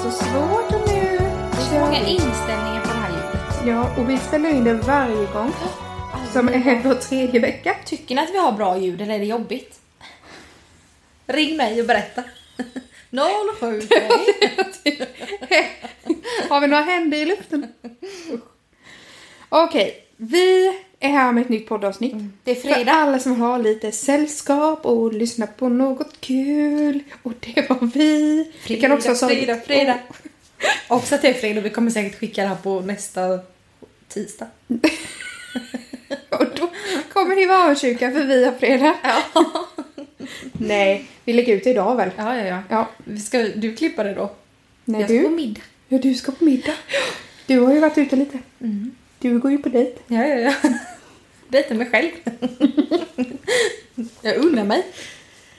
hårt och nu Det är så kör många vi. inställningar på det här ljudet. Ja, och vi spelar in det varje gång. Som är vår tredje vecka. Tycker ni att vi har bra ljud eller är det jobbigt? Ring mig och berätta. 07 Har vi några händer i luften? Usch. Okej, vi är här med ett nytt poddavsnitt. Det är För Mm. fredag. alla som har lite sällskap och lyssnar på något kul. Och det var vi. vi kan också ha sagt- fredag, fredag. Oh. Också att det är fredag. Vi kommer säkert skicka det här på nästa tisdag. Och då kommer ni vara avundsjuka för vi har fredag. Nej, vi lägger ut det idag väl? Ja, ja, Ja. ja. Ska du klippa det då? Nej, jag ska på du? middag. Ja, du ska på middag. Du har ju varit ute lite. Mm. Du går ju på dejt. Ja, ja, ja. Biter mig själv. jag unnar mig.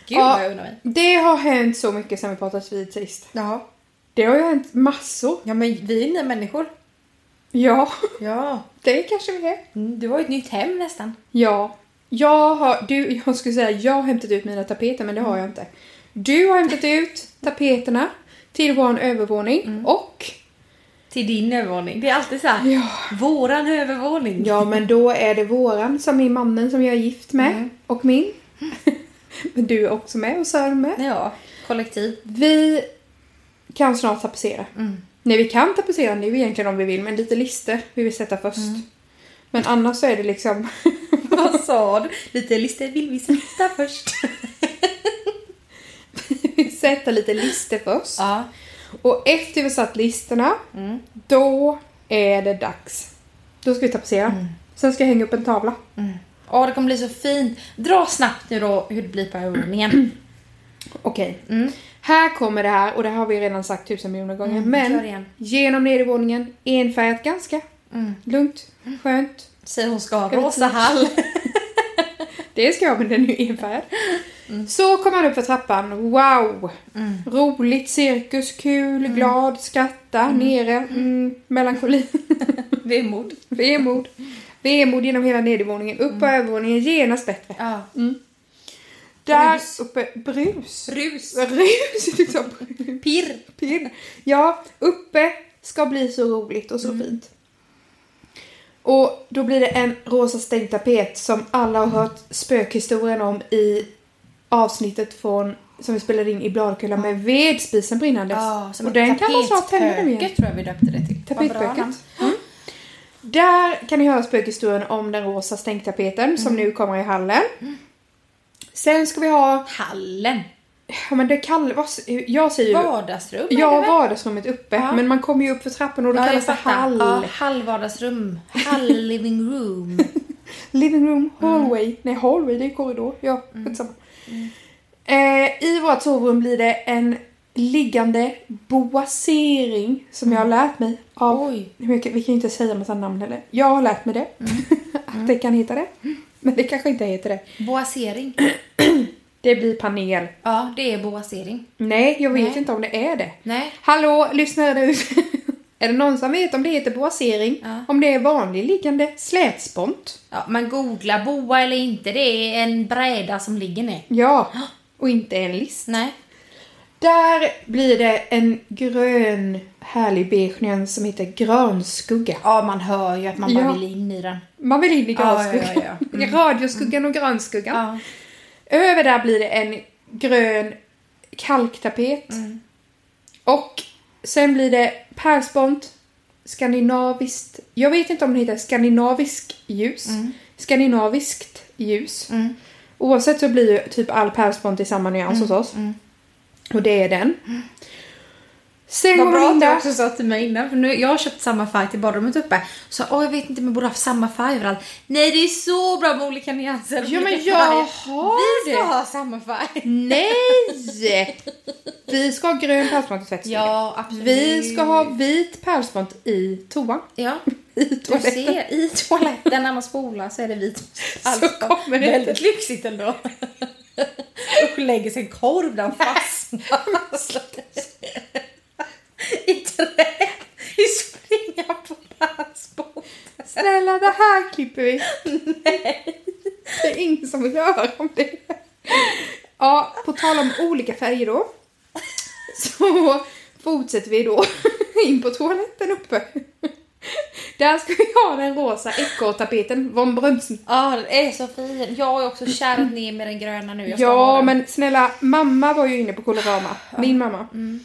Gud Ja. vad jag unnar mig. Det har hänt så mycket sen vi pratades vid sist. Ja. Det har ju hänt massor. ja, men vi är nya människor. Ja, Ja. det kanske vi är. Mm, du har ju ett nytt hem nästan. Ja. Jag har, du, jag skulle säga jag har hämtat ut mina tapeter men det har jag inte. Du har hämtat ut tapeterna till vår övervåning och... Till din övervåning. Det är alltid så här. Ja. Våran övervåning. Ja men då är det våran som är mannen som jag är gift med Mm. och min. Men du är också med och Sören med. Ja, kollektiv. Vi kan snart tapetsera. Mm. Nej vi kan tapetsera nu egentligen om vi vill men lite lister vi vill sätta först. Mm. Men annars så är det liksom Vad sa du? Lite listor vill vi sätta först. sätta lite lister först. Ja. Och efter vi satt listerna Mm. då är det dags. Då ska vi tapetsera. Mm. Sen ska jag hänga upp en tavla. Åh, det kommer bli så fint. Dra snabbt nu då hur det blir på övervåningen. Okej. Mm. Här kommer det här och det har vi redan sagt tusen miljoner gånger. Mm, kör men igen. genom nedervåningen, enfärgat ganska. Mm. Lugnt, skönt. Säger hon ska ha Ska vi rosa till- hall. Det ska jag men den är ju enfärgad. Mm. Så kommer han upp för trappan. Wow! Roligt, cirkus, kul, Mm. glad, skratta, nere, mm, melankoli, Vemod. vemod. Vemod genom hela nedervåningen, upp på övervåningen, genast bättre. Mm. Ja. Där Brus. uppe, brus. Rus. Rus, du sa brus. Pirr. Pin. Ja, uppe ska bli så roligt och så Mm. fint. Och då blir det en rosa stängd tapet som alla har hört spökhistorien om i avsnittet från som vi spelade in i Bladkulla med vedspisen brinnandes. och ett den kan man snart tända nu igen. tapetböke tror jag vi döpte det till. Vad bra Tapetböket. namn. Mm. Där kan ni höra spökhistorien om den rosa stängtapeten som Mm. nu kommer i hallen. Sen ska vi ha, Hallen. ja men det kallas, jag säger ju Vardagsrum. är det Ja, väl? vardagsrummet uppe. Ja. Men man kommer ju upp för trappen och då Ja, jag kallas det fattar. hall. Ja, hallvardagsrum. Hall-living room. Living room, Mm. hallway. Nej, hallway det är korridor. Ja, skitsamma. Eh, I vårt sovrum blir det en liggande boasering som jag har lärt mig av... Mm. Oj. Men jag kan- Vi kan ju inte säga massa namn heller. Jag har lärt mig det. Mm. Att det kan heta det. Men det kanske inte heter det. Boasering. Det blir panel. Ja, det är boasering. Nej, jag vet Nej. inte om det är det. Nej. Hallå, lyssnare där ute. Är det någon som vet om det heter boasering? Ja. Om det är vanlig liggande slätspont? Ja, man googlar boa eller inte. Det är en bräda som ligger ner. Ja, och inte en list. Nej. Där blir det en grön härlig beige nyans som heter granskugga. Ja, man hör ju att man bara Ja. vill in i den. Man vill in i Ja, Mm. granskuggan. ja, ja, ja. Radioskuggan och granskuggan. Över där blir det en grön kalktapet. Mm. Och sen blir det pärlspont, skandinaviskt... Jag vet inte om det heter skandinavisk ljus. Skandinaviskt ljus. Mm. Oavsett så blir ju typ all pärlspont i samma nyans hos oss. Mm. Och det är den. Sen Vad går bra man in att du där. också sa till mig innan, för nu, jag har köpt samma färg till badrummet uppe. Så åh, jag vet inte om jag borde ha samma färg överallt. Nej, det är så bra med olika nyanser. och Ja, men olika jag färger. har Vi det. ska ha samma färg. Nej! Vi ska ha grön pärlspont i tvättstugan. Ja, absolut. Vi ska ha vit pärlspont i toan. Ja, I du toaletten. ser. I toaletten när man spolar så är det vit Så kommer det Väldigt lyxigt ändå. Och lägger sig en korv där och fastnar. I trä. I springa på dansbord. Snälla, det här klipper vi. Nej. Det är ingen som vill höra om det. Ja, på tal om olika färger då. Så fortsätter vi då in på toaletten uppe. Där ska vi ha den rosa ekorrtapeten von Brömsen. Ja, den är så fin. Jag har ju också kärat ner med den gröna nu. Jag ska ha Ja, den. men snälla, mamma var ju inne på Kolorama, min mamma. Mm.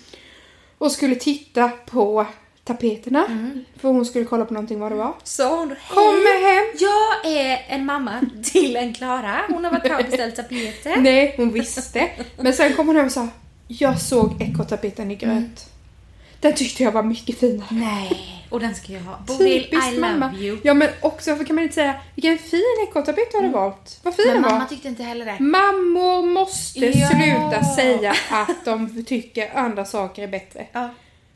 Och skulle titta på tapeterna, Mm. för hon skulle kolla på någonting vad det var. Så hon då, "Hej, Kommer hem! Jag är en mamma till en Klara. Hon har varit här och beställt tapeter. Nej, hon visste. Men sen kom hon hem och sa, jag såg ekorrtapeten i grönt. Mm. Den tyckte jag var mycket finare. Nej, och den ska jag ha. Bodil, I Typiskt love mamma. you. Ja men också, varför kan man inte säga vilken fin ekorrtapet du hade valt? Vad fin Mm. Men den var. mamma tyckte inte heller det. Mammor måste Ja. sluta säga att de tycker andra saker är bättre. Ja.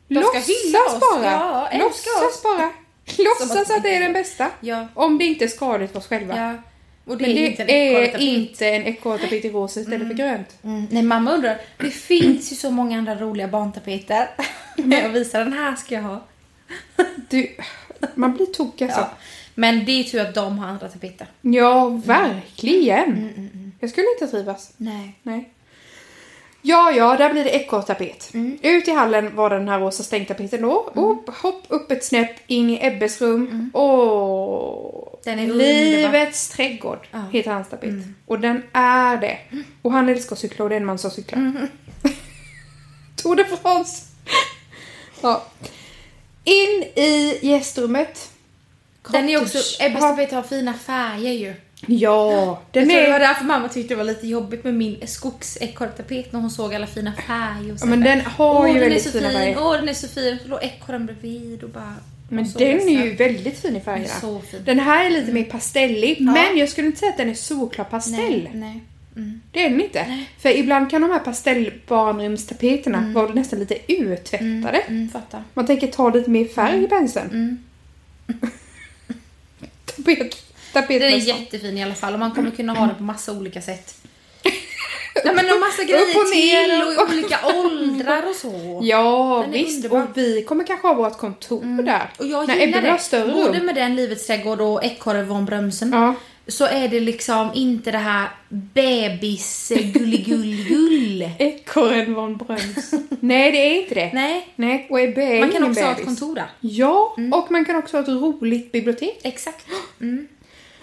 De ska hylla Låtsas oss. bara! Ja, älska Låtsas oss. bara! Som att Låtsas vi att det är inte- den bästa. Ja. Om det inte är skadligt för oss själva. ja. Och det Men är det inte en är ekorrtapet. inte en ekorrtapet i rosa istället för grönt. Mm. Nej, mamma undrar. Det finns ju så många andra roliga barntapeter. Men jag visar den här ska jag ha. Du, man blir tokig alltså. Ja. Men det är tur att de har andra tapeter. Ja, verkligen! Mm, Jag skulle inte trivas. Nej. Nej. Ja, ja, där blir det ekorrtapet. Mm. Ut i hallen var den här rosa stängtapeten då. Upp, hopp, upp ett snäpp, in i Ebbes rum. Åh! Mm. Den är Livets trädgård Ja. Mm. heter hans tapet. Och den är det. Och han älskar att cykla och det är en man som cyklar. Mm. Tog det från oss. ja. In i gästrummet. Den är också, Cottage- Ebbes tapeter har fina färger ju. Ja, den jag tror det var är... därför mamma tyckte det var lite jobbigt med min skogsekorrtapet när hon såg alla fina färger. Och Ja, men den har Åh, ju den är väldigt så fin, fina färger. åh den är så fin. Så låg ekorren bredvid och bara... Men och så den ledsen. är ju väldigt fin i färgerna. Den är så fin. Den här är lite mer pastellig, men jag skulle inte säga att den är solklar pastell. Nej, nej. Det är den inte. För ibland kan de här pastellbarnrumstapeterna vara nästan lite urtvättade. Mm, fattar. Man tänker ta lite mer färg i penseln. Tapet, tapet Den är jättefin i alla fall och man kommer kunna ha den på massa olika sätt. Nej men och massa grejer Upp och ner till och och- Mm. i olika åldrar och så. Ja, Den är visst. underbar. Och vi kommer kanske ha vårt kontor där. Mm. Och jag När gillar Ebbe har det. större Både rum. med den Livets trädgård och Ekorre von Brömsen. Ja. Så är det liksom inte det här bebis gull Ekorren von Bröms. Nej, det är inte det. Nej. Nej, och Ebbe är Man kan ingen också ha ett bebis. kontor där. Ja, Mm. och man kan också ha ett roligt bibliotek. Exakt.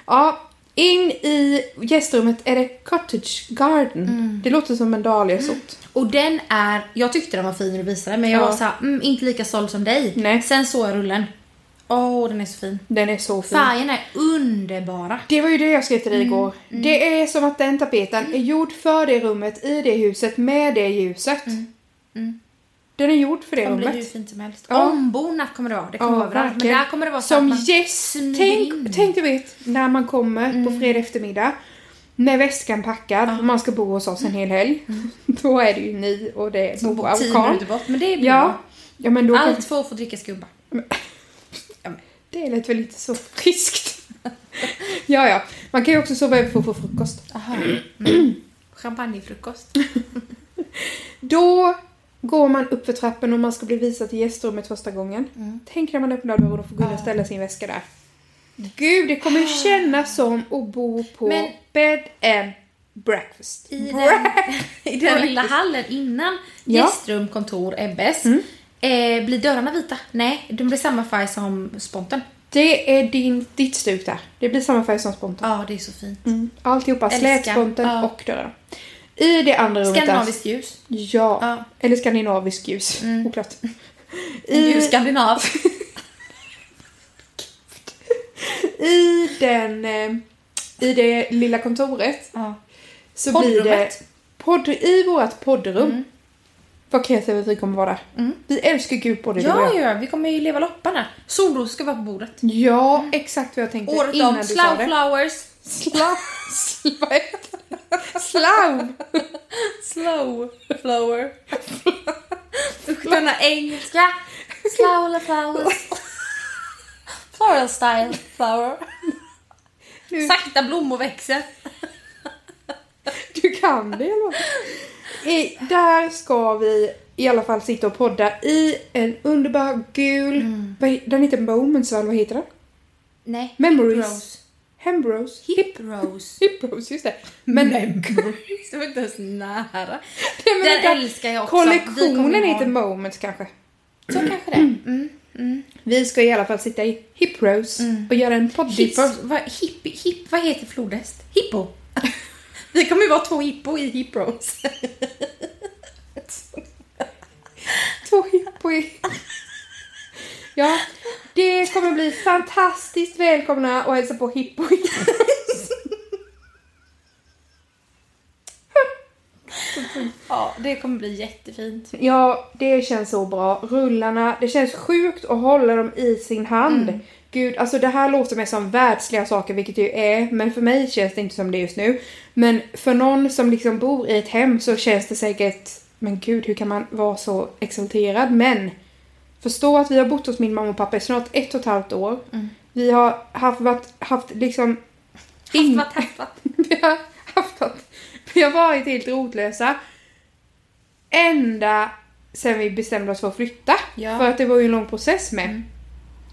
Ja, in i gästrummet är det Cottage Garden. Mm. Det låter som en dahliasort. Och den är, jag tyckte den var fin när du visade men jag Ja. var såhär, mm, inte lika såld som dig. Nej. Sen såg jag rullen. Åh, den är så fin. Den är så fin. Färgerna är underbara. Det var ju det jag skrev till dig Mm. igår. Det är som att den tapeten är gjord för det rummet, i det huset, med det ljuset. Den är gjord för det Det kommer bli hur rummet. fint Mm. som helst. Ja. Ombonat kommer det vara. Det kommer vara överallt. Men verkligen. där kommer det vara så Som att man gäst. smyger in. Mm. Tänk, tänk du vet, när man kommer på fredag eftermiddag med väskan packad och man ska bo hos oss Mm. en hel helg. Då är det ju ni och det är som Moa bor och tio Karl. minuter bort. Men det blir Ja. ja, men då bra. kan Allt för att få dricka skumpa. Det lät väl inte så friskt. ja, ja. Man kan ju också sova över för att få frukost. Aha. Mm. Champagnefrukost. Då går man upp för trappen och man ska bli visad till gästrummet första gången. Mm. Tänk när man öppnar dörren och får Gunnar ställa sin väska där. Gud, det kommer ju kännas som att bo på Ah. Men- bed and breakfast. I den, Breakfast. I den lilla hallen innan Ja. gästrum, kontor, Ebbes. Eh, blir dörrarna vita? Nej, de blir samma färg som sponten. Det är din, ditt stuk där. Det blir samma färg som spontan. Ja, det är så fint. Alltihopa, Mm. Älskar. slätsponten Ja. och dörren. I det andra rummet... där- Skandinaviskt ljus. Ja. Ja. Mm. Eller skandinavisk ljus. Oklart. Ljus skandinav. I den... eh, I det lilla kontoret Ja. så Poddrummet. blir det... Podd, I vårt poddrum. Mm. Vad kreativa vi kommer vara där. Vi älskar Gud både du och Ja, jag. ja, vi kommer ju leva loppan där. Solros ska vara på bordet. Ja, Mm. exakt vad jag tänkte Året innan om, du sa slow det. flowers. Slav. Slav. Vad heter det? Slav. Slow flower. Usch, denna engelska. Slow flowers. Floral style flower. Nu- Sakta blommor växer. Du kan det eller vad? I, där ska vi i alla fall sitta och podda i en underbar gul... Mm. Vad, he- den heter Moments va? Vad heter den? Nej. Memories. Rose. Hembros. Hip Rose. Hippos, just det. Men Det var inte ens nära. Nej, men Den vänta. älskar jag också. Vi kommer Kollektionen ha heter den. Moments kanske. Så kanske det. Mm, Vi ska i alla fall sitta i Hip Rose och göra en poddis. Hippos, vad, hipp, hipp, vad heter flodhäst? Hippo. Vi kommer ju vara två hippo i hippos. Två hippo i. Ja, det kommer bli fantastiskt välkomna och hälsa på hippo i. Ja, det kommer bli jättefint. Ja, det känns så bra. Rullarna, det känns sjukt att hålla dem i sin hand. Gud, alltså det här låter mig som världsliga saker, vilket det ju är, men för mig känns det inte som det just nu. Men för någon som liksom bor i ett hem så känns det säkert, men gud, hur kan man vara så exalterad? Men förstå att vi har bott hos min mamma och pappa i snart ett och ett halvt år. Vi har haft, varit, haft liksom Haft, varit, haft, varit. vi har haft något. Vi har varit helt rotlösa. Ända sen vi bestämde oss för att flytta. Ja. Mm. För att det var ju en lång process med.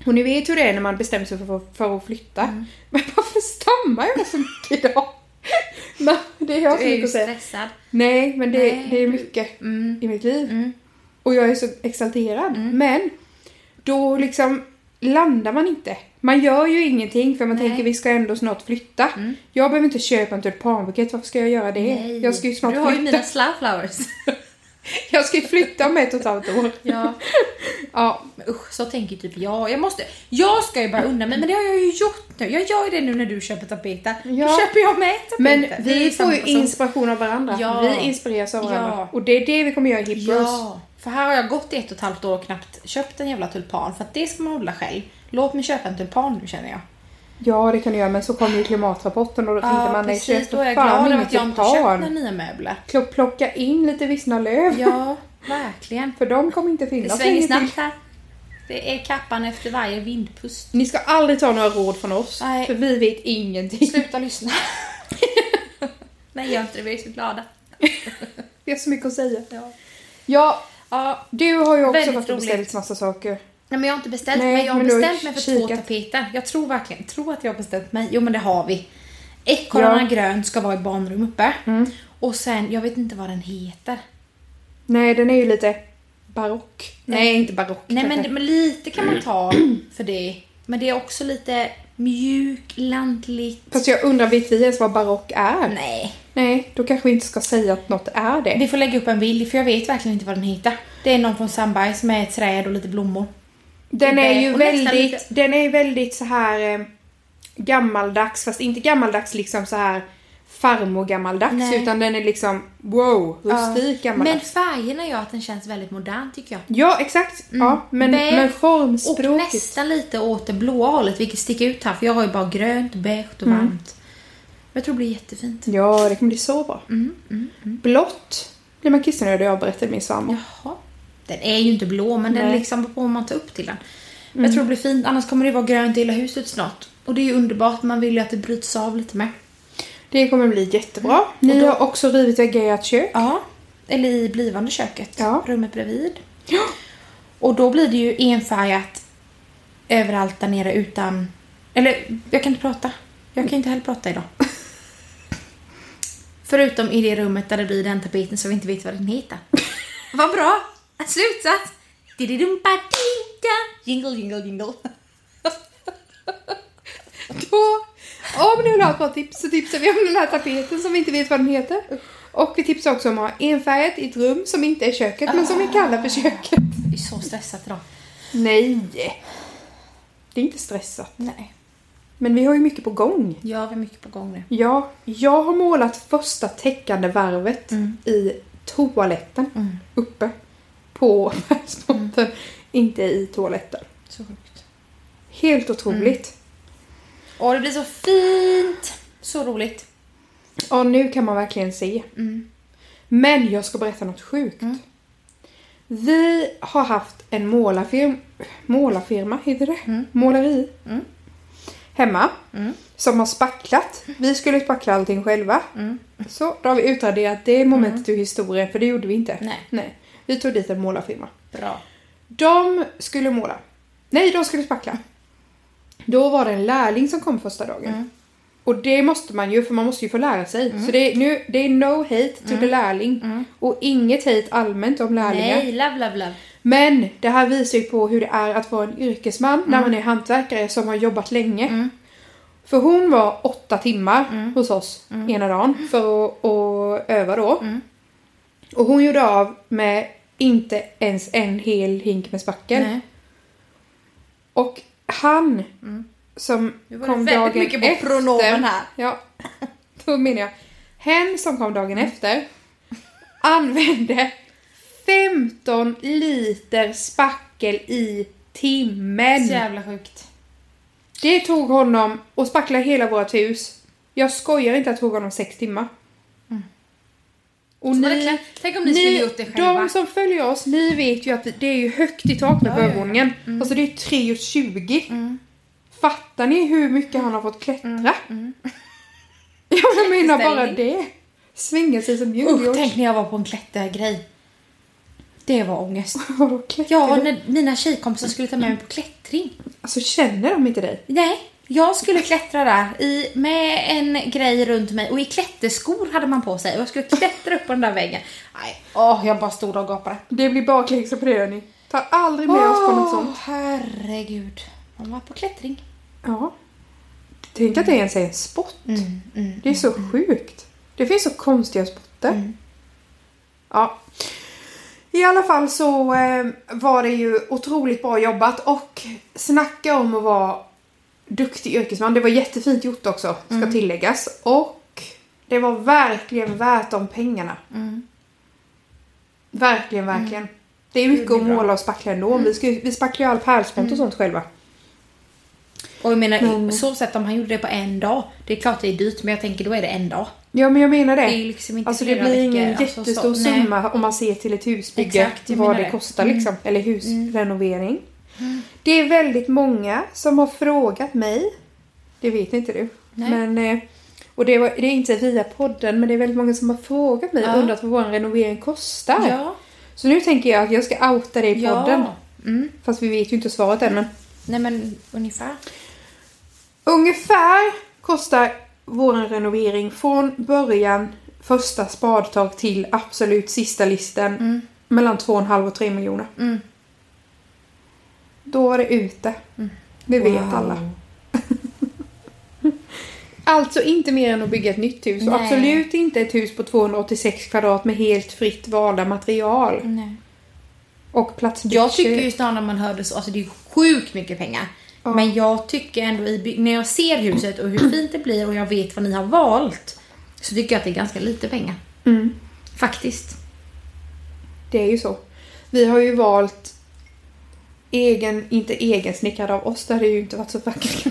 Och ni vet hur det är när man bestämmer sig för, för att flytta. Mm. Men varför stammar jag så mycket idag? Men det är jag Du som är mycket ju att säga. stressad. Nej, men det, Nej, det är du- mycket Mm. i mitt liv. Mm. Och jag är så exalterad. Men då liksom landar man inte. Man gör ju ingenting för man Nej. Mm. tänker vi ska ändå snart flytta. Jag behöver inte köpa en tulpanbukett, varför ska jag göra det? Nej. Jag ska ju snart Du har ju flytta. mina slowflowers. Jag ska ju flytta om ett och ett halvt år. Ja. Ja, Men usch, så tänker typ jag. Jag, måste, jag ska ju bara undan mig, men det har jag ju gjort nu. Jag gör ju det nu när du köper tapeter. Ja. Då köper jag med tapeter. men Det är vi får samma ju person. inspiration av varandra. Ja. Vi inspireras av varandra. Ja. Och det är det vi kommer göra i Hip Rose. Ja, för här har jag gått i ett och ett halvt år och knappt köpt en jävla tulpan. För att det ska man odla själv. Låt mig köpa en tulpan nu känner jag. Ja, det kan du göra, men så kommer ju klimatrapporten och då tänkte man nej, köp Då är för jag fan glad över inget att jag inte köpt några tulpan. nya möbler. Klo- Plocka in lite vissna löv, Ja, verkligen. för de kommer inte Det finnas svänger länge till. snabbt här. Det är kappan efter varje vindpust. Ni ska aldrig ta några råd från oss, Nej. för vi vet ingenting. Sluta lyssna. Nej, gör inte det. Vi är så glada. Vi har så mycket att säga. Ja. Ja, Ja, du har ju också Väldigt varit och roligt. beställt massa saker. Nej, men jag har inte beställt Nej, mig. Jag har men du har beställt mig för två kikat. tapeter. Jag tror verkligen tror att jag har beställt mig. Jo, men det har vi. Ekorrarna Ja. grönt ska vara i barnrum uppe. Och sen, jag vet inte vad den heter. Nej, den är ju lite barock. Nej, Nej. inte barock. Nej, kanske. men, men lite kan man ta för det. Men det är också lite mjuk, lantligt. Fast jag undrar, vet vi ens vad barock är? Nej. Nej. då kanske vi inte ska säga att något är det. Vi får lägga upp en bild, för jag vet verkligen inte vad den heter. Det är någon från Sandbergs med träd och lite blommor. Den är ju Och nästan väldigt, lite- den är ju väldigt så här eh, gammaldags, fast inte gammaldags liksom så här farmor gammaldags, Nej. utan den är liksom wow, rustik Men gammaldags. färgerna gör att den känns väldigt modern tycker jag. Ja, exakt. Ja, men, Beige men Mm. Och formspråket. nästan lite åt det blåa hållet, vilket sticker ut här. För jag har ju bara grönt, beige och varmt. Jag tror det blir jättefint. Ja, det kommer bli så bra. Mm, Blått blir man kissnödig av, berättade min svärmor. Jaha. Den är ju inte blå, men den Nej. liksom beror på om man tar upp till den. Men Jag tror det blir fint, annars kommer det vara grönt i hela huset snart. Och det är ju underbart, man vill ju att det bryts av lite med. Det kommer bli jättebra. Mm. Ni har också rivit väggar i ert kök. Ja. Eller i blivande köket, Ja. rummet bredvid. Ja. Och då blir det ju enfärgat överallt där nere utan... Eller, jag kan inte prata. Jag kan inte heller prata idag. Förutom i det rummet där det blir den tapeten som vi inte vet vad den heter. vad bra! Slutsats! Dididumpa-didida. Jingle, jingle, jingle. Då, om ni vill ha ett bra tips så tipsar vi om den här tapeten som vi inte vet vad den heter. Och vi tipsar också om att ha enfärgat i ett rum som inte är köket men som vi kallar för köket. Jag är så stressad idag. Nej! Det är inte stressat. Nej. Men vi har ju mycket på gång. Jag har mycket på gång nu. Ja, jag har målat första täckande varvet i toaletten uppe på världsbotten. Inte i toaletten. Så sjukt. Helt otroligt. Åh, det blir så fint! Så roligt. Ja, nu kan man verkligen se. Men jag ska berätta något sjukt. Vi har haft en målarfirma, målarfirma heter det? Måleri. Hemma. Som har spacklat. Vi skulle spackla allting själva. Mm, Så, då har vi utraderat det momentet ur historien, för det gjorde vi inte. Nej. Vi tog dit en målarfirma. Bra. De skulle måla. Nej, de skulle spackla. Då var det en lärling som kom första dagen. Och det måste man ju, för man måste ju få lära sig. Så det är, nu, det är no hate to the lärling. Och inget hate allmänt om lärlingar. Nej, love, love, love. Men det här visar ju på hur det är att vara en yrkesman när man är hantverkare som har jobbat länge. För hon var åtta timmar hos oss ena dagen för att, att öva då. Och hon gjorde av med inte ens en hel hink med spackel. Nej. Och han som Mm. Nu var det kom väldigt dagen mycket på efter. pronomen här. Ja, då menar jag. Hen som kom Mm. dagen efter använde 15 liter spackel i timmen. Så jävla sjukt. Det tog honom och spackla hela vårt hus. Jag skojar inte att det tog honom sex timmar. Och Mm. Så var det ni, klart. Tänk om ni skulle gjort det själva. De som följer oss, ni vet ju att det är ju högt i tak nu på Ja, Mm. ja, ja. övervåningen. Alltså det är 3,20. Fattar ni hur mycket han har fått klättra? Mm, Jag menar bara det. Svinga sig som Usch, Djungeln. tänk när jag var på en klättergrej. Det var ångest. ja, Ja, när mina tjejkompisar skulle ta med mig på klättring. Alltså känner de inte dig? Nej, jag skulle klättra där i, med en grej runt mig och i klätterskor hade man på sig och jag skulle klättra upp på den där väggen. Nej, åh, jag bara stod där och gapade. Det blir bakläxa på det hörni. Tar aldrig med oss på något sånt. herregud. Man var på klättring. Ja. Tänk att Mm. det ens är en sport. det är så sjukt. Det finns så konstiga sporter. Mm. Ja. I alla fall så eh, var det ju otroligt bra jobbat och snacka om att vara duktig yrkesman. Det var jättefint gjort också, ska Mm. tilläggas. Och det var verkligen värt de pengarna. Mm. Verkligen, verkligen. Det är mycket Det blir att bra. Mm. måla och spackla ändå. Vi, ska, ju- vi spacklar ju all pärlspänt och sånt själva. Och jag menar, Men- så sätt om han gjorde det på en dag. Det är klart det är dyrt, men jag tänker då är det en dag. Ja, men jag menar det. Det är ju liksom inte Alltså det flera blir veckor, ingen alltså, så- jättestor nej. summa om man ser till ett husbygge Exakt, jag vad menar det, det. Mm. kostar liksom. Eller husrenovering. Det är väldigt många som har frågat mig. Det vet inte du. Nej. Men, eh, och det, var, det är inte via podden men det är väldigt många som har frågat mig Ja. och undrat vad vår renovering kostar. Så nu tänker jag att jag ska outa dig i podden. ja. Mm. Fast vi vet ju inte svaret än. Men Nej men ungefär. ungefär kostar vår renovering från början första spadtag till absolut sista listen mellan 2,5 och 3 miljoner. Mm. Då var det ute. Det vet Wow. alla. Alltså inte mer än att bygga ett nytt hus. Och Nej. absolut inte ett hus på 286 kvadrat med helt fritt valda material. Nej. Och platsbyte. Jag tycker ju snarare när man hör det så, alltså det är sjukt mycket pengar. Ja. Men jag tycker ändå i, by- när jag ser huset och hur fint det blir och jag vet vad ni har valt. Så tycker jag att det är ganska lite pengar. Mm, Faktiskt. det är ju så. Vi har ju valt egen, inte egen snickrad av oss. Det hade ju inte varit så vackert.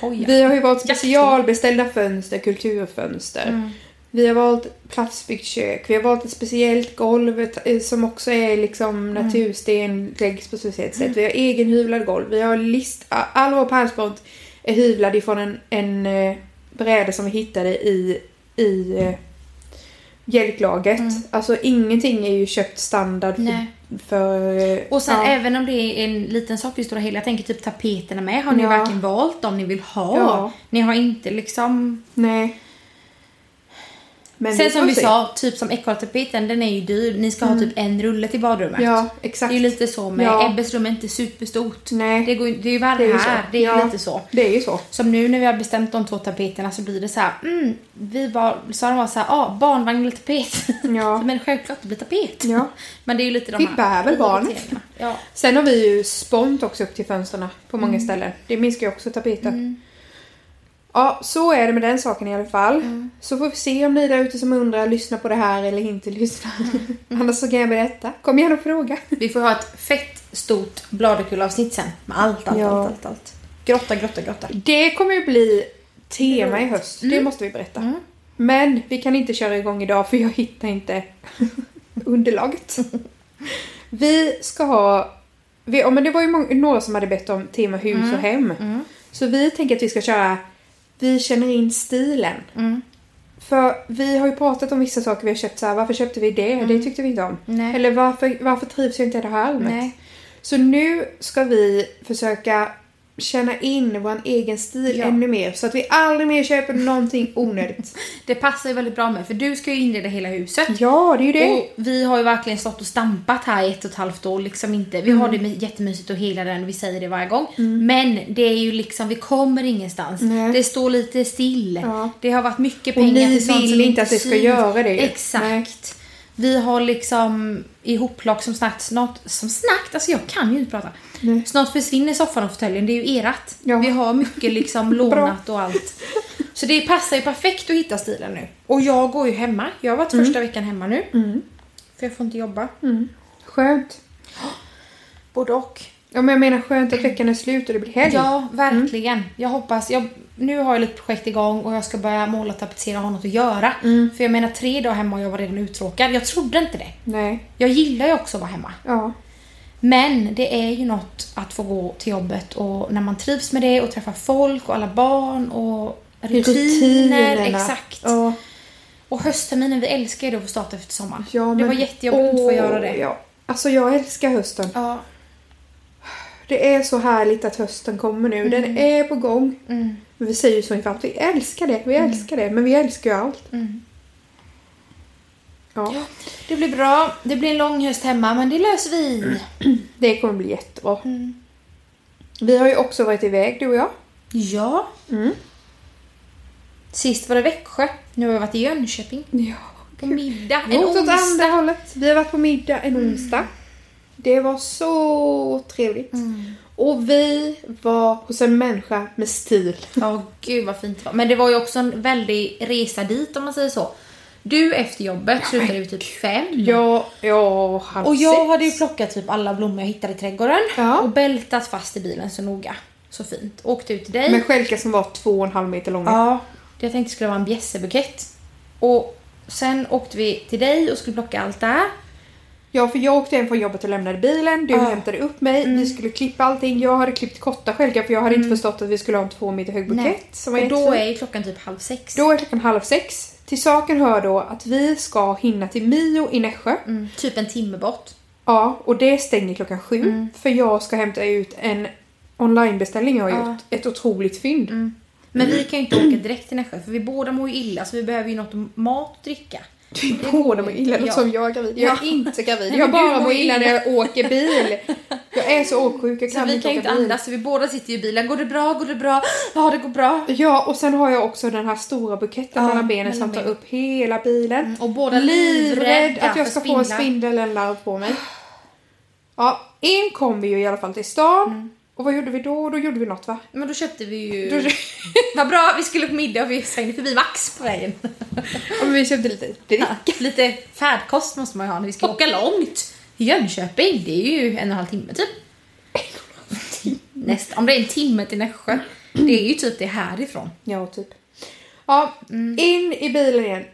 Koja. Vi har ju valt Jaktfilm. specialbeställda fönster, kulturfönster. Vi har valt platsbyggt kök. Vi har valt ett speciellt golv ett- eh, som också är liksom Mm. natursten, läggs på speciellt sätt. Vi har egen hyvlad golv. Vi har list... a- All vår pärlspont är hyvlad ifrån en, en eh, bräde som vi hittade i, i eh, bjälklaget. Alltså ingenting är ju köpt standard Mm. Nej. för... för eh, Och sen ja. även om det är en liten sak i stora hela, jag tänker typ tapeterna med. Har ni Ja. verkligen valt dem ni vill ha? Ja. Ni har inte liksom... Nej. Men Sen som får vi se. Mm. sa, typ som ekorrtapeten, den är ju dyr. Ni ska ha typ en rulle till badrummet. Ja, det exakt. är ju lite så med, Ja. Ebbes rum är inte superstort. Nej. Det, går, ju- det är ju värre Det är ju så. här, det är Ja. ju lite så. Det är ju så. Som nu när vi har bestämt de två tapeterna så blir det så här, mm, vi var, sa de var så här, ah, barnvagn eller tapet. Ja. Men självklart det blir tapet. Ja. Men det är ju lite de Vi bär väl barn. prioriteringarna. Ja. Sen har vi ju spont också upp till fönstren på många ställen. Det minskar ju också tapeten. Ja, så är det med den saken i alla fall. Så får vi se om ni där ute som undrar lyssnar på det här eller inte lyssnar. Annars så kan jag berätta. Kom igen och fråga. Vi får ha ett fett stort bladerkullavsnitt sen med allt, allt, Ja. allt, allt, allt. Grotta, grotta, grotta. Det kommer ju bli tema i höst. Det måste vi berätta. Men vi kan inte köra igång idag för jag hittar inte underlaget. Vi ska ha... Vi, ja, men det var ju många, några som hade bett om tema hus och hem. Så vi tänker att vi ska köra Vi känner in stilen. Mm. För vi har ju pratat om vissa saker vi har köpt så här. Varför köpte vi det? Det tyckte vi inte om. Nej. Eller varför, varför trivs jag inte i det här rummet? Nej. Så nu ska vi försöka känna in vår egen stil Ja. ännu mer. Så att vi aldrig mer köper någonting onödigt. Det passar ju väldigt bra med för du ska ju inreda hela huset. ja, det är ju det. Och vi har ju verkligen stått och stampat här i ett och ett halvt år. Liksom inte. Vi Mm. har det my- jättemysigt och hela den, vi säger det varje gång. Men det är ju liksom, vi kommer ingenstans. Nej. Det står lite still. Ja. Det har varit mycket Och pengar ni till sånt vill som inte att vi ska syns. göra det. Exakt. Nej. Vi har liksom ihopplock som snart, snart, som snart, alltså jag kan ju inte prata. Nej. Snart försvinner soffan och fåtöljen, det är ju erat. Ja. Vi har mycket liksom lånat och allt. Så det passar ju perfekt att hitta stilen nu. Och jag går ju hemma, jag har varit Mm. första veckan hemma nu. För jag får inte jobba. Skönt. Både och. Ja, men jag menar skönt att veckan är slut och det blir helg. Ja, verkligen. Jag hoppas, jag, nu har jag lite projekt igång och jag ska börja måla, tapetsera och ha något att göra. Mm. För jag menar tre dagar hemma och jag var redan uttråkad. Jag trodde inte det. Nej. Jag gillar ju också att vara hemma. Ja. Men det är ju något att få gå till jobbet och när man trivs med det och träffa folk och alla barn och rutiner. Rutinerna. Exakt. Ja. Och höstterminen, vi älskar ju det att få starta efter sommaren. Ja, det men- var jättejobbigt att få Åh, göra det. Ja. Alltså jag älskar hösten. Ja. Det är så härligt att hösten kommer nu. Den är på gång. Mm. Vi säger ju så inför allt. Vi älskar det, vi älskar det. Men vi älskar ju allt. Mm. Ja, Det blir bra. Det blir en lång höst hemma men det löser vi. det kommer bli jättebra. Mm. Vi har ju också varit iväg, du och jag. Ja. Mm. Sist var det Växjö. Nu har vi varit i Jönköping. Ja. På middag. En En åt andra onsdag. Mm. hållet. Vi har varit på middag en onsdag. Det var så trevligt. Mm. Och vi var hos en människa med stil. Ja, gud vad fint det var. Men det var ju också en väldig resa dit om man säger så. Du efter jobbet slutade ju typ fem. Ja, ja, halv Och jag sex. hade ju plockat typ alla blommor jag hittade i trädgården Ja. och bältat fast i bilen så noga. Så fint. Åkte ut till dig. Med skälkar som var två och en halv meter långa. Ja, det jag tänkte skulle vara en bjässebukett. Och sen åkte vi till dig och skulle plocka allt där. Ja, för jag åkte hem från jobbet och lämnade bilen, du Ja. hämtade upp mig, Mm. vi skulle klippa allting. Jag hade klippt korta skälkar för jag hade inte förstått att vi skulle ha en två meter hög bukett. Som var och då jättefin. är ju klockan typ halv sex. då är klockan halv sex. Till saken hör då att vi ska hinna till Mio i Nässjö. Mm, typ en timme bort. Ja, och det stänger klockan sju. Mm. För jag ska hämta ut en onlinebeställning jag har Ja. gjort. Ett otroligt fynd. Mm. Men vi kan ju inte åka direkt till Nässjö för vi båda mår ju illa så vi behöver ju något mat och dricka. Vi båda mår illa, ja. Ja. som jag är gravid. Jag är Ja. inte gravid. Nej, Jag men du bara mår mår illa när jag åker bil. Jag är så åksjuk, jag Så kan vi inte kan ju åka inte bil. andas så vi båda sitter ju i bilen. Går det bra? Går det bra? Ja, det går bra. Ja, och sen har jag också den här stora buketten Ja, mellan benen mellan som tar benen. upp hela bilen. Och båda Livrädd livrädda att Ah. jag ska för få en spindlar. spindel eller larv på mig. Ja, in kom vi ju i alla fall till stan. Och vad gjorde vi då? Då gjorde vi något va? Men då köpte vi ju... Då, Vad bra, vi skulle på middag och vi svängde förbi Maxsprayen. Ja, men vi köpte lite dricka. Lite färdkost måste man ju ha när vi ska åka långt. Jönköping, det är ju en och en halv timme typ. Nästa, om det är en timme till Nässjö. Det är ju typ det härifrån. Ja, typ. Ja, in i bilen igen.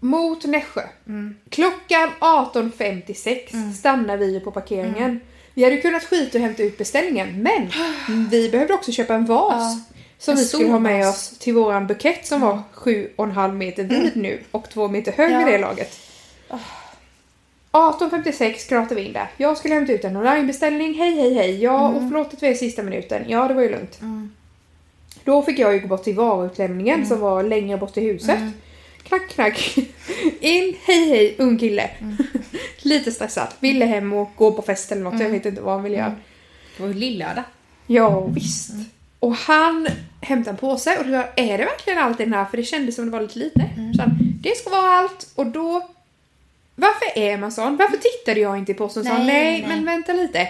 Mot Nässjö. Mm. Klockan 18.56 stannar vi ju på parkeringen. Vi hade ju kunnat skita och hämta ut beställningen, men vi behövde också köpa en vas. Som En vi skulle stor ha med vas. oss till våran bukett som var 7,5 meter vid nu och 2 meter hög Ja. vid det laget. 18.56 kratar vi in där. Jag skulle hämta ut en onlinebeställning. Hej, hej, hej. Ja, och förlåt att vi är i sista minuten. Ja, det var ju lugnt. Då fick jag ju gå bort till varuutlämningen som var längre bort i huset. Knack, knack. In, hej, hej, ung kille. Lite stressad. Ville hem och gå på fest eller något. Jag vet inte vad han ville göra. Det var ju lillördag. Ja, visst. Och han hämtade en påse och då sa jag, är det verkligen allt i den här? För det kändes som det var lite lite. Mm. Så han, det ska vara allt. Och då... Varför är man sån? Varför tittade jag inte i påsen? Nej, sa, han, Nej, nej, nej. Mm. men vänta lite.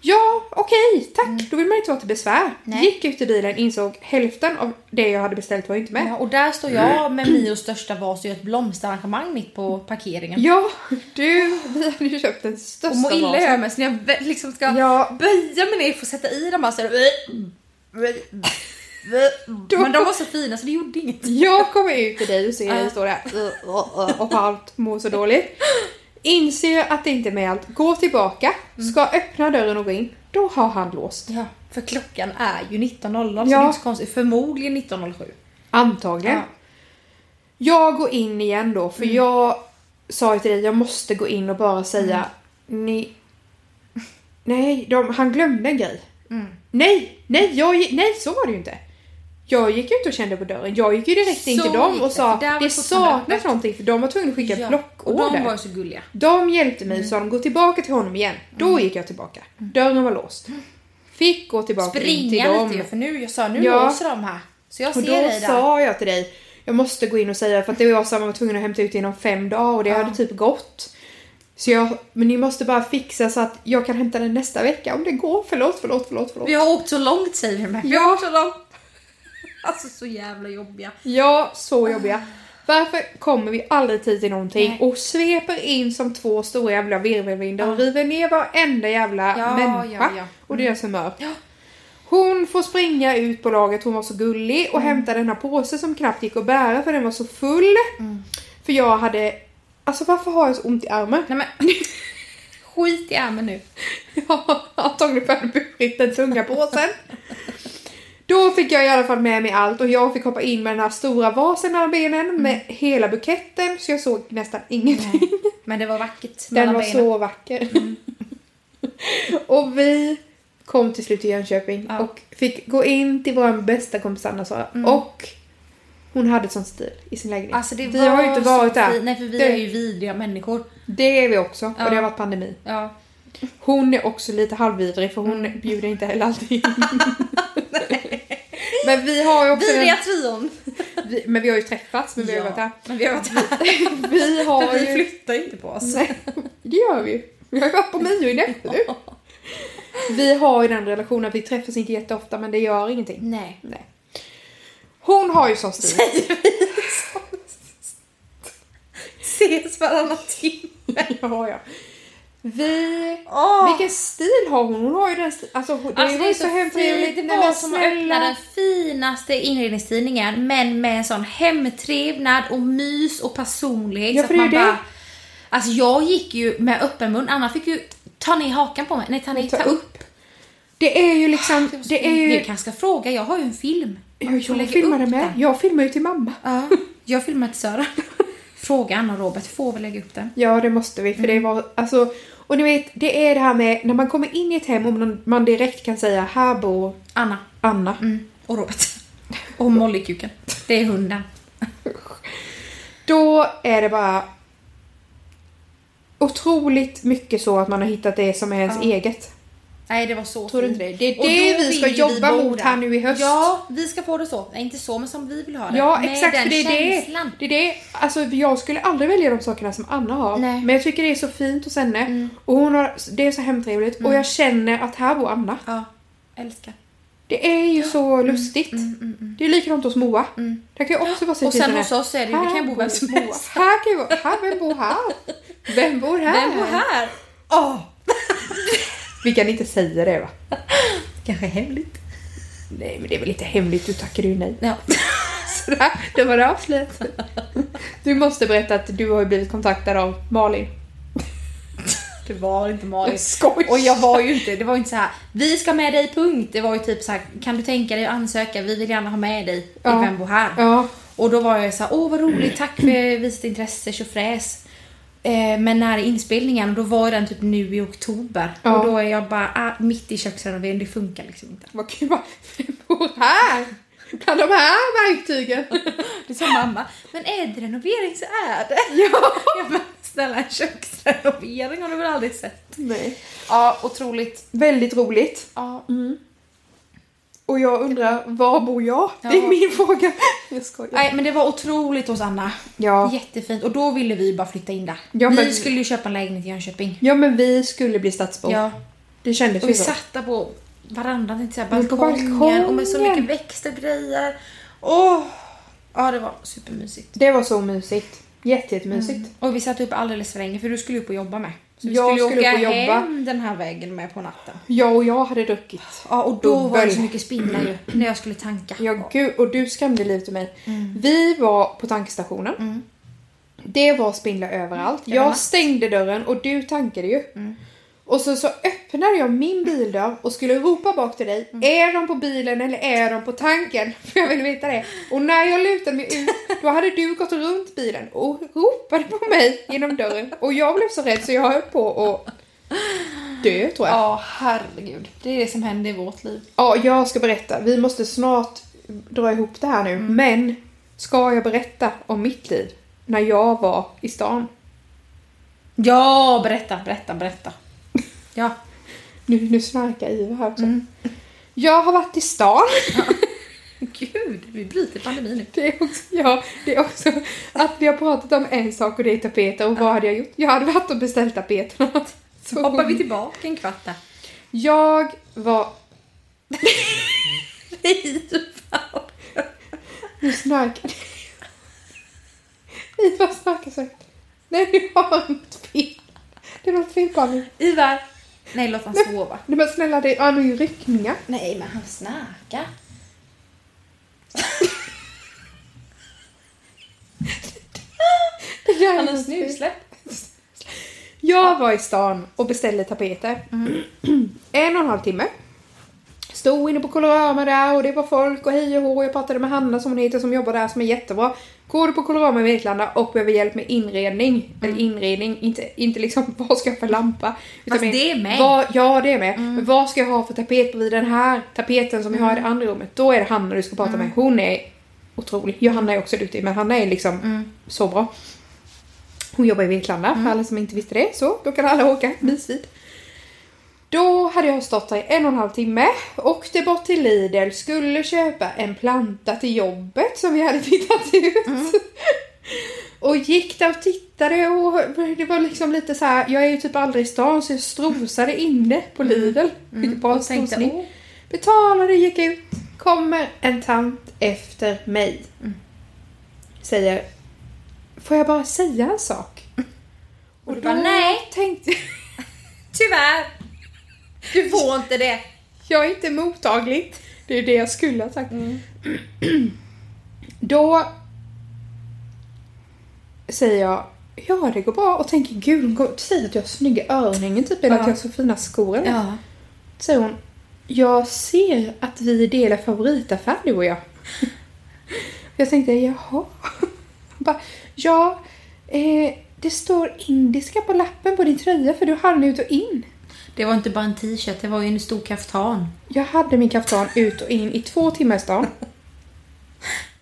Ja, okej, tack. Då vill man inte vara till besvär. Nej. Gick ut i bilen, insåg hälften av det jag hade beställt var ju inte med. Ja, och där står jag med Mios största vas och gör ett blomsterarrangemang mitt på parkeringen. Ja, du, vi hade ju köpt den Och största mår illa vasen. jag mig så när jag vä- liksom ska Ja, böja mig ner för att sätta i dem här så är Mm. det... Men de var så fina så det gjorde inget. jag kommer ut till dig och ser dig Ja. stå där uh, uh, uh, och på allt mår så dåligt. Inser att det inte är med allt, går tillbaka, ska öppna dörren och gå in. Då har han låst. Ja, för klockan är ju 19.00 så Ja. det är inte så konstigt. Förmodligen 19.07. Antagligen. Ja. Mm. Jag går in igen då, för jag sa ju till dig jag måste Mm. gå in och bara säga ni... Nej, de, han glömde en grej. Mm. Nej, nej, jag, gi- nej, så var det ju inte. Jag gick ju inte och kände på dörren. Jag gick ju direkt in Så till dem gick och det, sa för där var det fortfarande saknas öppet." någonting för de var tvungna att skicka Och de blockorder. var Mm. ju så gulliga. De hjälpte mig och sa de gå tillbaka till honom igen. Då Mm. gick jag tillbaka. Dörren var låst. Fick gå tillbaka in till Springa dem. lite ju, för nu, jag sa nu Ja. låser de här. Så jag Och ser då dig där. sa jag till dig, jag måste gå in och säga för att det var jag som var tvungen att hämta ut inom fem dagar och det hade typ gått. Så jag, men ni måste bara fixa så att jag kan hämta den nästa vecka om det går. Förlåt, förlåt, förlåt, förlåt. Vi har åkt så långt säger vi med. Vi har Ja. åkt så långt. Alltså så jävla jobbiga. Ja, så jobbiga. Varför kommer vi aldrig i tid till någonting Nej. och sveper in som två stora jävla virvelvindar och Ja. river ner varenda jävla Ja, människa ja, ja. Mm. och deras humör. Ja. Hon får springa ut på laget, hon var så gullig och Mm. hämta den här påsen som knappt gick att bära för den var så full. Mm. För jag hade... Alltså varför har jag så ont i armen? Nej men. Skit i ärmen nu. Jag har antagligen för att jag hade burit den tunga påsen. Då fick jag i alla fall med mig allt och jag fick hoppa in med den här stora vasen mellan benen Mm. med hela buketten så jag såg nästan ingenting. Men det var vackert. Den mellan var benen. Mm. så vacker. och vi kom till slut till Jönköping Ja. Mm. och fick gå in till vår bästa kompis Anna-Sara och hon hade sån stil i sin lägenhet. Alltså det vi var har ju inte så varit där. Fin. Nej för vi Det- är ju vidriga människor. Det är vi också Ja. och det har varit pandemi. Ja. Hon är också lite halvvidrig för hon Mm. bjuder inte heller alltid in. men vi har ju också... Vidriga trion. vi, men vi har ju träffats, men vi har ju Ja, varit där. Men vi har varit här. Vi har För vi ju... flyttar inte på oss. Nej, det gör vi ju. Vi har ju varit på Mio i Näppel nu. Vi har ju den relationen att vi träffas inte jätteofta men det gör ingenting. Nej. Nej. Hon har ju sån stil. Ses varannan timme. Ja, ja. Vi... Åh. Vilken stil har hon? Hon har ju den stil... Alltså, hon- det Alltså, var ju så hemtrevligt. fint. Nej, Det var men som att öppna snälla. den finaste inredningstidningen men med en sån hemtrevnad och mys och personlighet. Ja, så för att det är man ju det. bara, alltså jag gick ju med öppen mun, Anna fick ju ta ner hakan på mig. Nej, ta, ner, Ta ta upp. Ah, Det är ju liksom... Det är Du ju... kanske ska fråga, jag har ju en film. Jag, Du får jag lägga filmade upp med. den. Jag filmar ju till mamma. Ja, jag filmar till Sören. Fråga Anna och Robert, får vi lägga upp den? Ja, det måste vi. För Mm. det var, alltså, och ni vet, det är det här med när man kommer in i ett hem och man, man direkt kan säga här bor Anna Anna. mm. och Robert. Och Mollykuken. Det är hunden. Då är det bara otroligt mycket så att man har hittat det som är ens eget. Nej, det var så Tror du fint. inte det? Det är Och det då vi ska vill jobba bo mot där. här nu i höst. Ja, vi ska få det så. Nej, inte så, men som vi vill ha det. Ja, Med exakt. den För det är det. känslan. det är det. Alltså, jag skulle aldrig välja de sakerna som Anna har. Nej. Mm. Men jag tycker det är så fint hos henne. Och hon har, det är så hemtrevligt. Och jag känner att här bor Anna. Ja, älskar. Det är ju så Mm, lustigt. Det är likadant hos Moa. Det kan ju också vara så Och sen fint hos sådär, oss är det ju- det här kan ju bo vem som bor Moa. helst. Här kan ju vara, här, vem bor här? Vem bor här? Vem bor här? Åh! Vi kan inte säga det va? Kanske hemligt. Nej men det är väl inte hemligt, du tackar ju nej. Ja. Sådär, det var det avslut. Du måste berätta att du har ju blivit kontaktad av Malin. Det var inte Jag Malin. skojar. Och jag var ju inte, det var ju inte så här. vi ska med dig punkt. Det var ju typ så här, kan du tänka dig att ansöka? Vi vill gärna ha med dig i Ja. Vem bor här? Ja. Och då var jag så här, åh vad roligt, tack för visat intresse, tjofräs. Eh, men när är inspelningen? Och då var ju den typ nu i oktober. Ja. Och då är jag bara ah, mitt i köksrenoveringen, det funkar liksom inte. Vad kul, va? vem bor här? Bland de här verktygen? Det sa mamma, men är det renovering så är det. Ja. Jag bara, snälla en köksrenovering har du väl aldrig sett? Nej. Ja, otroligt. Väldigt roligt. Mm. Ja. Och jag undrar, var bor jag? Det Ja. är min fråga. Jag skojar. Nej, men det var otroligt hos Anna. Ja. Jättefint. Och då ville vi bara flytta in där. Ja, vi men- skulle ju köpa en lägenhet i Jönköping. ja, men vi skulle bli stadsbor. Ja. Det kändes Och vi ju så. satt där på verandan, inte så här, Mm, på balkongen, balkongen. och med så mycket växter och grejer. Åh! Ja, det var supermysigt. Det var så mysigt. Jätte, jättemysigt. Mm. Och vi satt upp alldeles för länge för du skulle upp och jobba med. Så vi Jag skulle, skulle åka upp och jobba. hem den här vägen med på natten. Jag och jag hade druckit. Ja, och då var det Dubbel. så mycket spindlar ju när jag skulle tanka. Ja, gud, och du skrämde livet ur mig. Vi var på tankstationen. Det var spindlar överallt. var jag max. stängde dörren och du tankade ju. Och så, så öppnade jag min bildörr och skulle ropa bak till dig. Är de på bilen eller är de på tanken? För jag ville veta det. Och när jag lutade mig ut, då hade du gått runt bilen och ropade på mig genom dörren. Och jag blev så rädd så jag höll på att dö tror jag. Ja, herregud. Det är det som händer i vårt liv. Ja, jag ska berätta. Vi måste snart dra ihop det här nu. Men ska jag berätta om mitt liv när jag var i stan? Ja, berätta, berätta, berätta. Ja. Nu, nu snarkar Ivar här också. Jag har varit i stan. Gud, vi bryter pandemin nu. Det är, också, ja, det är också att vi har pratat om en sak och det är tapeter. Och vad hade jag gjort? Jag hade varit och beställt tapeterna. Så Hoppar vi tillbaka en kvart där. Jag var... Nu snarkar Ivar snarkar så högt. Nej, du har inte fel. Det är något fel på honom. Ivar! Nej, låt han sova. Nej men snälla, det är ju ryckningar. Nej, men han snarkar. Det där är Han något har fel. snusläpp. Jag var i stan och beställde tapeter. En och en halv timme. Stod inne på Colorama där och det var folk och hej och hå. Jag pratade med Hanna som hon heter som jobbar där som är jättebra. Går du på Colorama i Vetlanda och behöver hjälp med inredning. Eller inredning, inte, inte liksom vad ska jag ha för lampa. Mm. Fast mer, det är med. Mm. Vad, ja det är med. Men vad ska jag ha för tapet vid den här tapeten som jag har i det andra rummet. Då är det Hanna du ska prata Mm. med. Hon är otrolig. Johanna är också duktig men Hanna är liksom Mm. så bra. Hon jobbar i Vetlanda, för alla som inte visste det. Så då kan alla åka mysigt. Då hade jag stått där i en och en halv timme, åkte bort till Lidl, skulle köpa en planta till jobbet som vi hade tittat ut. Mm. Och gick där och tittade och det var liksom lite så här. jag är ju typ aldrig i stan så jag strosade inne på Lidl. Vilket bra Mm. och tänkte, strosning. åh. Betalade, gick ut. Kommer en tant efter mig. Mm. Säger, får jag bara säga en sak? Mm. Och du bara, nej. tänkte Tyvärr. Du får inte det. Jag är inte mottaglig. Det är det jag skulle ha sagt. Då säger jag ja det går bra och tänker gud hon går- säger att jag har snygga örhängen typ eller Ja. att jag har så fina skor. eller något. Ja. Säger hon jag ser att vi delar favoritaffär du och jag. jag tänkte jaha. Bara, ja eh, det står indiska på lappen på din tröja för du hann ut och in. Det var inte bara en t-shirt, det var ju en stor kaftan. Jag hade min kaftan ut och in i två timmar i stan.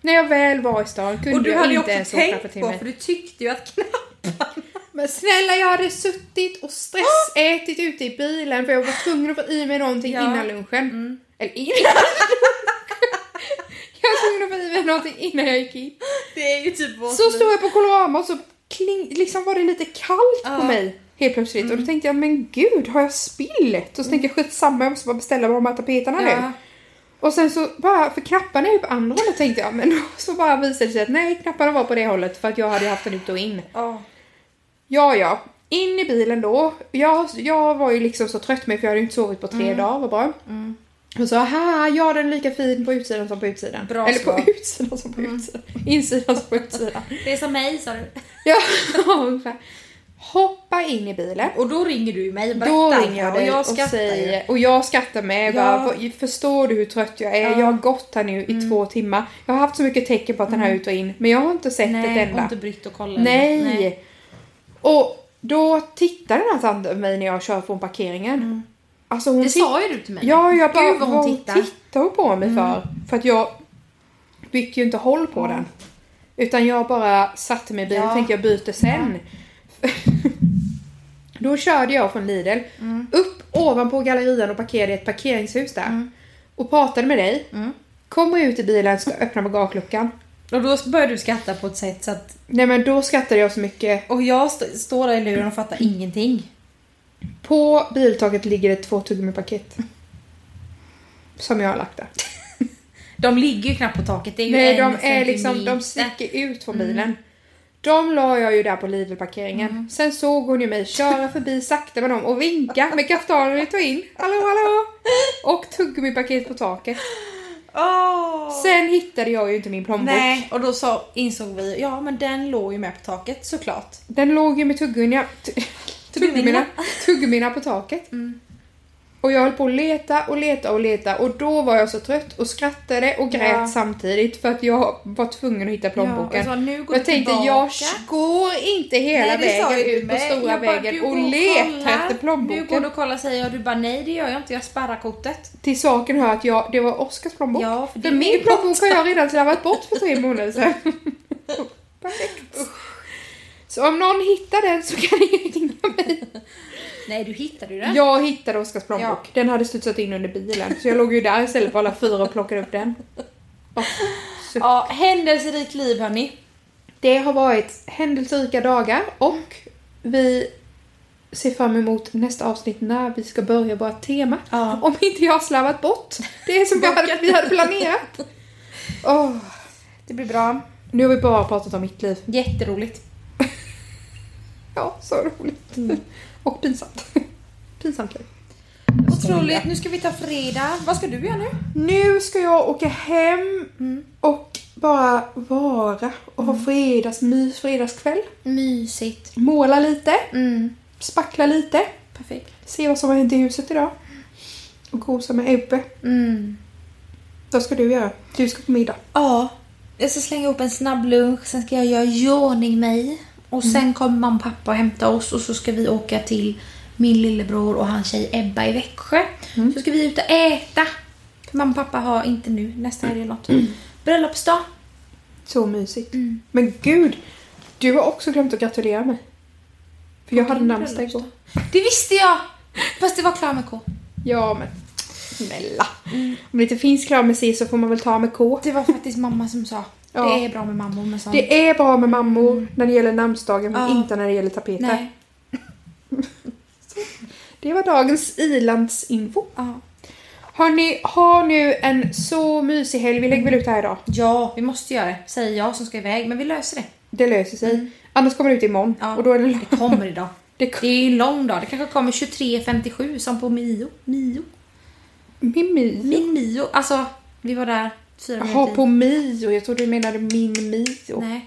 När jag väl var i stan kunde Och du jag hade ju inte också ens åka på tänkt på, timmen. för du tyckte ju att knapparna... Men snälla, jag hade suttit och stressätit ute i bilen för jag var tvungen att få i mig någonting Ja. Mm. innan lunchen. Eller innan lunchen! Jag var tvungen att få i mig någonting innan jag gick in. Det är ju typ vårt Så stod jag på Colorama och så kling, liksom var det lite kallt på Ja. Mm. mig helt plötsligt. Och då tänkte jag, men gud, har jag spillet? Och så tänkte jag, skitsamma, jag måste bara beställa de här tapeterna nu. Ja. Och sen så bara, för knapparna är ju på andra hållet tänkte jag, men så bara visade det sig att nej, knapparna var på det hållet för att jag hade haft den ut och in. Ja. Ja, ja. In i bilen då. Jag, jag var ju liksom så trött med för jag hade ju inte sovit på tre Mm. dagar, vad bra. Och så här, ja den är lika fin på utsidan som på utsidan. Bra Eller svar. Mm. på utsidan som på utsidan. Insidan som på utsidan. Det är som mig sa du. Ja, ungefär. Hoppa in i bilen. Och då ringer du mig och Då berättar. ringer jag och dig jag och, skrattar ju. säger, och jag skrattar med. Ja. Bara, "Vad- förstår du hur trött jag är? Ja. Mm. Jag har gått här nu i två timmar. Jag har haft så mycket tecken på att den här är ut och in. Men jag har inte sett ett Nej, enda. har inte brytt och kollat. Nej. Och då tittar den här tanten på mig när jag kör från parkeringen. Alltså hon Mm. Det tittar- sa ju du till mig. Ja, jag bara, Gud vad hon tittar. Mm. tittar hon på mig för? För att jag bytte ju inte håll på den. Utan jag bara satte mig i bilen Ja. och tänkte jag byter sen. Då körde jag från Lidl Mm. upp ovanpå gallerian och parkerade i ett parkeringshus där. Mm. Och pratade med dig. Kommer ut i bilen ska öppna bagageluckan. Och då började du skratta på ett sätt så att... Nej men då skrattade jag så mycket. Och jag st- står där i luren och fattar ingenting. På biltaket ligger det två tuggummi-paket. Som jag har lagt där. De ligger ju knappt på taket. Det är ju Nej, en de är liksom, de centimeter. Mm. sticker ut från bilen. De la jag ju där på Lidl-parkeringen. Mm. Sen såg hon ju mig köra förbi sakta med dem och vinka med kaftanen och ta in. Hallå, hallå! Och tuggummi-paket på taket. Åh! Sen hittade jag ju inte min plånbok. Nej, och då sa, insåg vi ja men den låg ju med på taket såklart. Den låg ju med tuggummina, t- Tuggummina. Mm. tuggummina, tuggummina på taket. Och jag höll på att leta och leta och leta och då var jag så trött och skrattade och grät Ja. samtidigt för att jag var tvungen att hitta Ja, och plånboken. så, nu går jag du tänkte tillbaka. jag går inte hela Nej, det sa vägen ju ut på du med. stora Jag bara, du vägen går och letar kollar. efter Du går plånboken. och kollar säger jag och du bara nej det gör jag inte, jag sparrar kortet. Till saken hör att jag, det var Oskars plånbok. Ja, för det är min min plånbok har jag redan slarvat bort för tre månader sedan. Perfekt. Så om någon hittar den så kan ni ringa mig. Nej du hittade ju den. Jag hittade Oskars plånbok. Äh? Ja. Den hade studsat in under bilen. Så jag låg ju där istället för alla fyra och plockade upp den. Ja, händelserikt liv hörni. Det har varit händelserika dagar och vi ser fram emot nästa avsnitt när vi ska börja vårt tema. Ja. Om inte jag har slarvat bort det som jag hade, vi hade planerat. Åh, Det blir bra. Nu har vi bara pratat om mitt liv. Jätteroligt. Ja, så roligt. Mm. Och pinsamt. Pinsamt liv. Otroligt, nu ska vi ta fredag. Vad ska du göra nu? Nu ska jag åka hem Mm. och bara vara och ha fredagsmys, fredagskväll. Mysigt. Måla lite, Mm. spackla lite, Perfekt. se vad som har hänt i huset idag. Och gosa med Ebbe. Mm. Vad ska du göra? Du ska på middag. Ja, jag ska slänga upp en snabb lunch, sen ska jag göra i ordning mig. Och Mm. sen kommer mamma och pappa och hämta oss och så ska vi åka till min lillebror och hans tjej Ebba i Växjö. Mm. Så ska vi ut och äta. För mamma och pappa har inte nu, nästa helg eller något. Bröllopsdag. Så mysigt. Mm. Men gud, du har också glömt att gratulera mig. För jag hade namnsdag igår. Det visste jag! Fast det var klar med K. Ja, men snälla. Mm. Om det inte finns krav med C så får man väl ta med K. Det var faktiskt mamma som sa. Ja. Det är bra med mammor med sånt. Det är bra med mammor när det gäller namnsdagen men Mm. Ja. inte när det gäller tapeter. Nej. Det var dagens ilandsinfo. Ja. Hörni, ha nu en så mysig helg. Vi lägger väl ut det här idag. ja, vi måste göra det. Säger jag som ska iväg, men vi löser det. Det löser sig. Annars kommer det ut imorgon. Mm. Ja. Och då är det lördag. Det kommer idag. Det Det är ju en lång dag. Det kanske kommer 23.57 som på Mio. Mio? Min Mio. Min Mio. Alltså, vi var där fyra Jaha, minuter i. på Mio. Jag trodde du menade min Mio. Nej.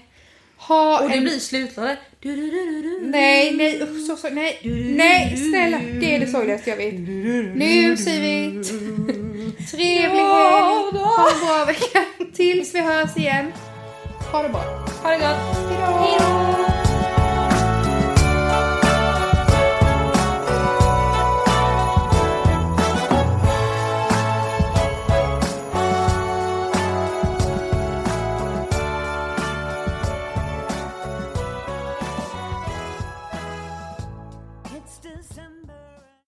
Ha Och det en... blir slutlåten. Du, du, du, du, du. Nej, nej, usch, så, så, nej, nej, snälla. Det är det sorgligaste jag vet. Nu säger vi t- trevlig helg. Ha en bra vecka tills vi hörs igen. Ha det bra. Ha det gott. Hejdå. Hej då.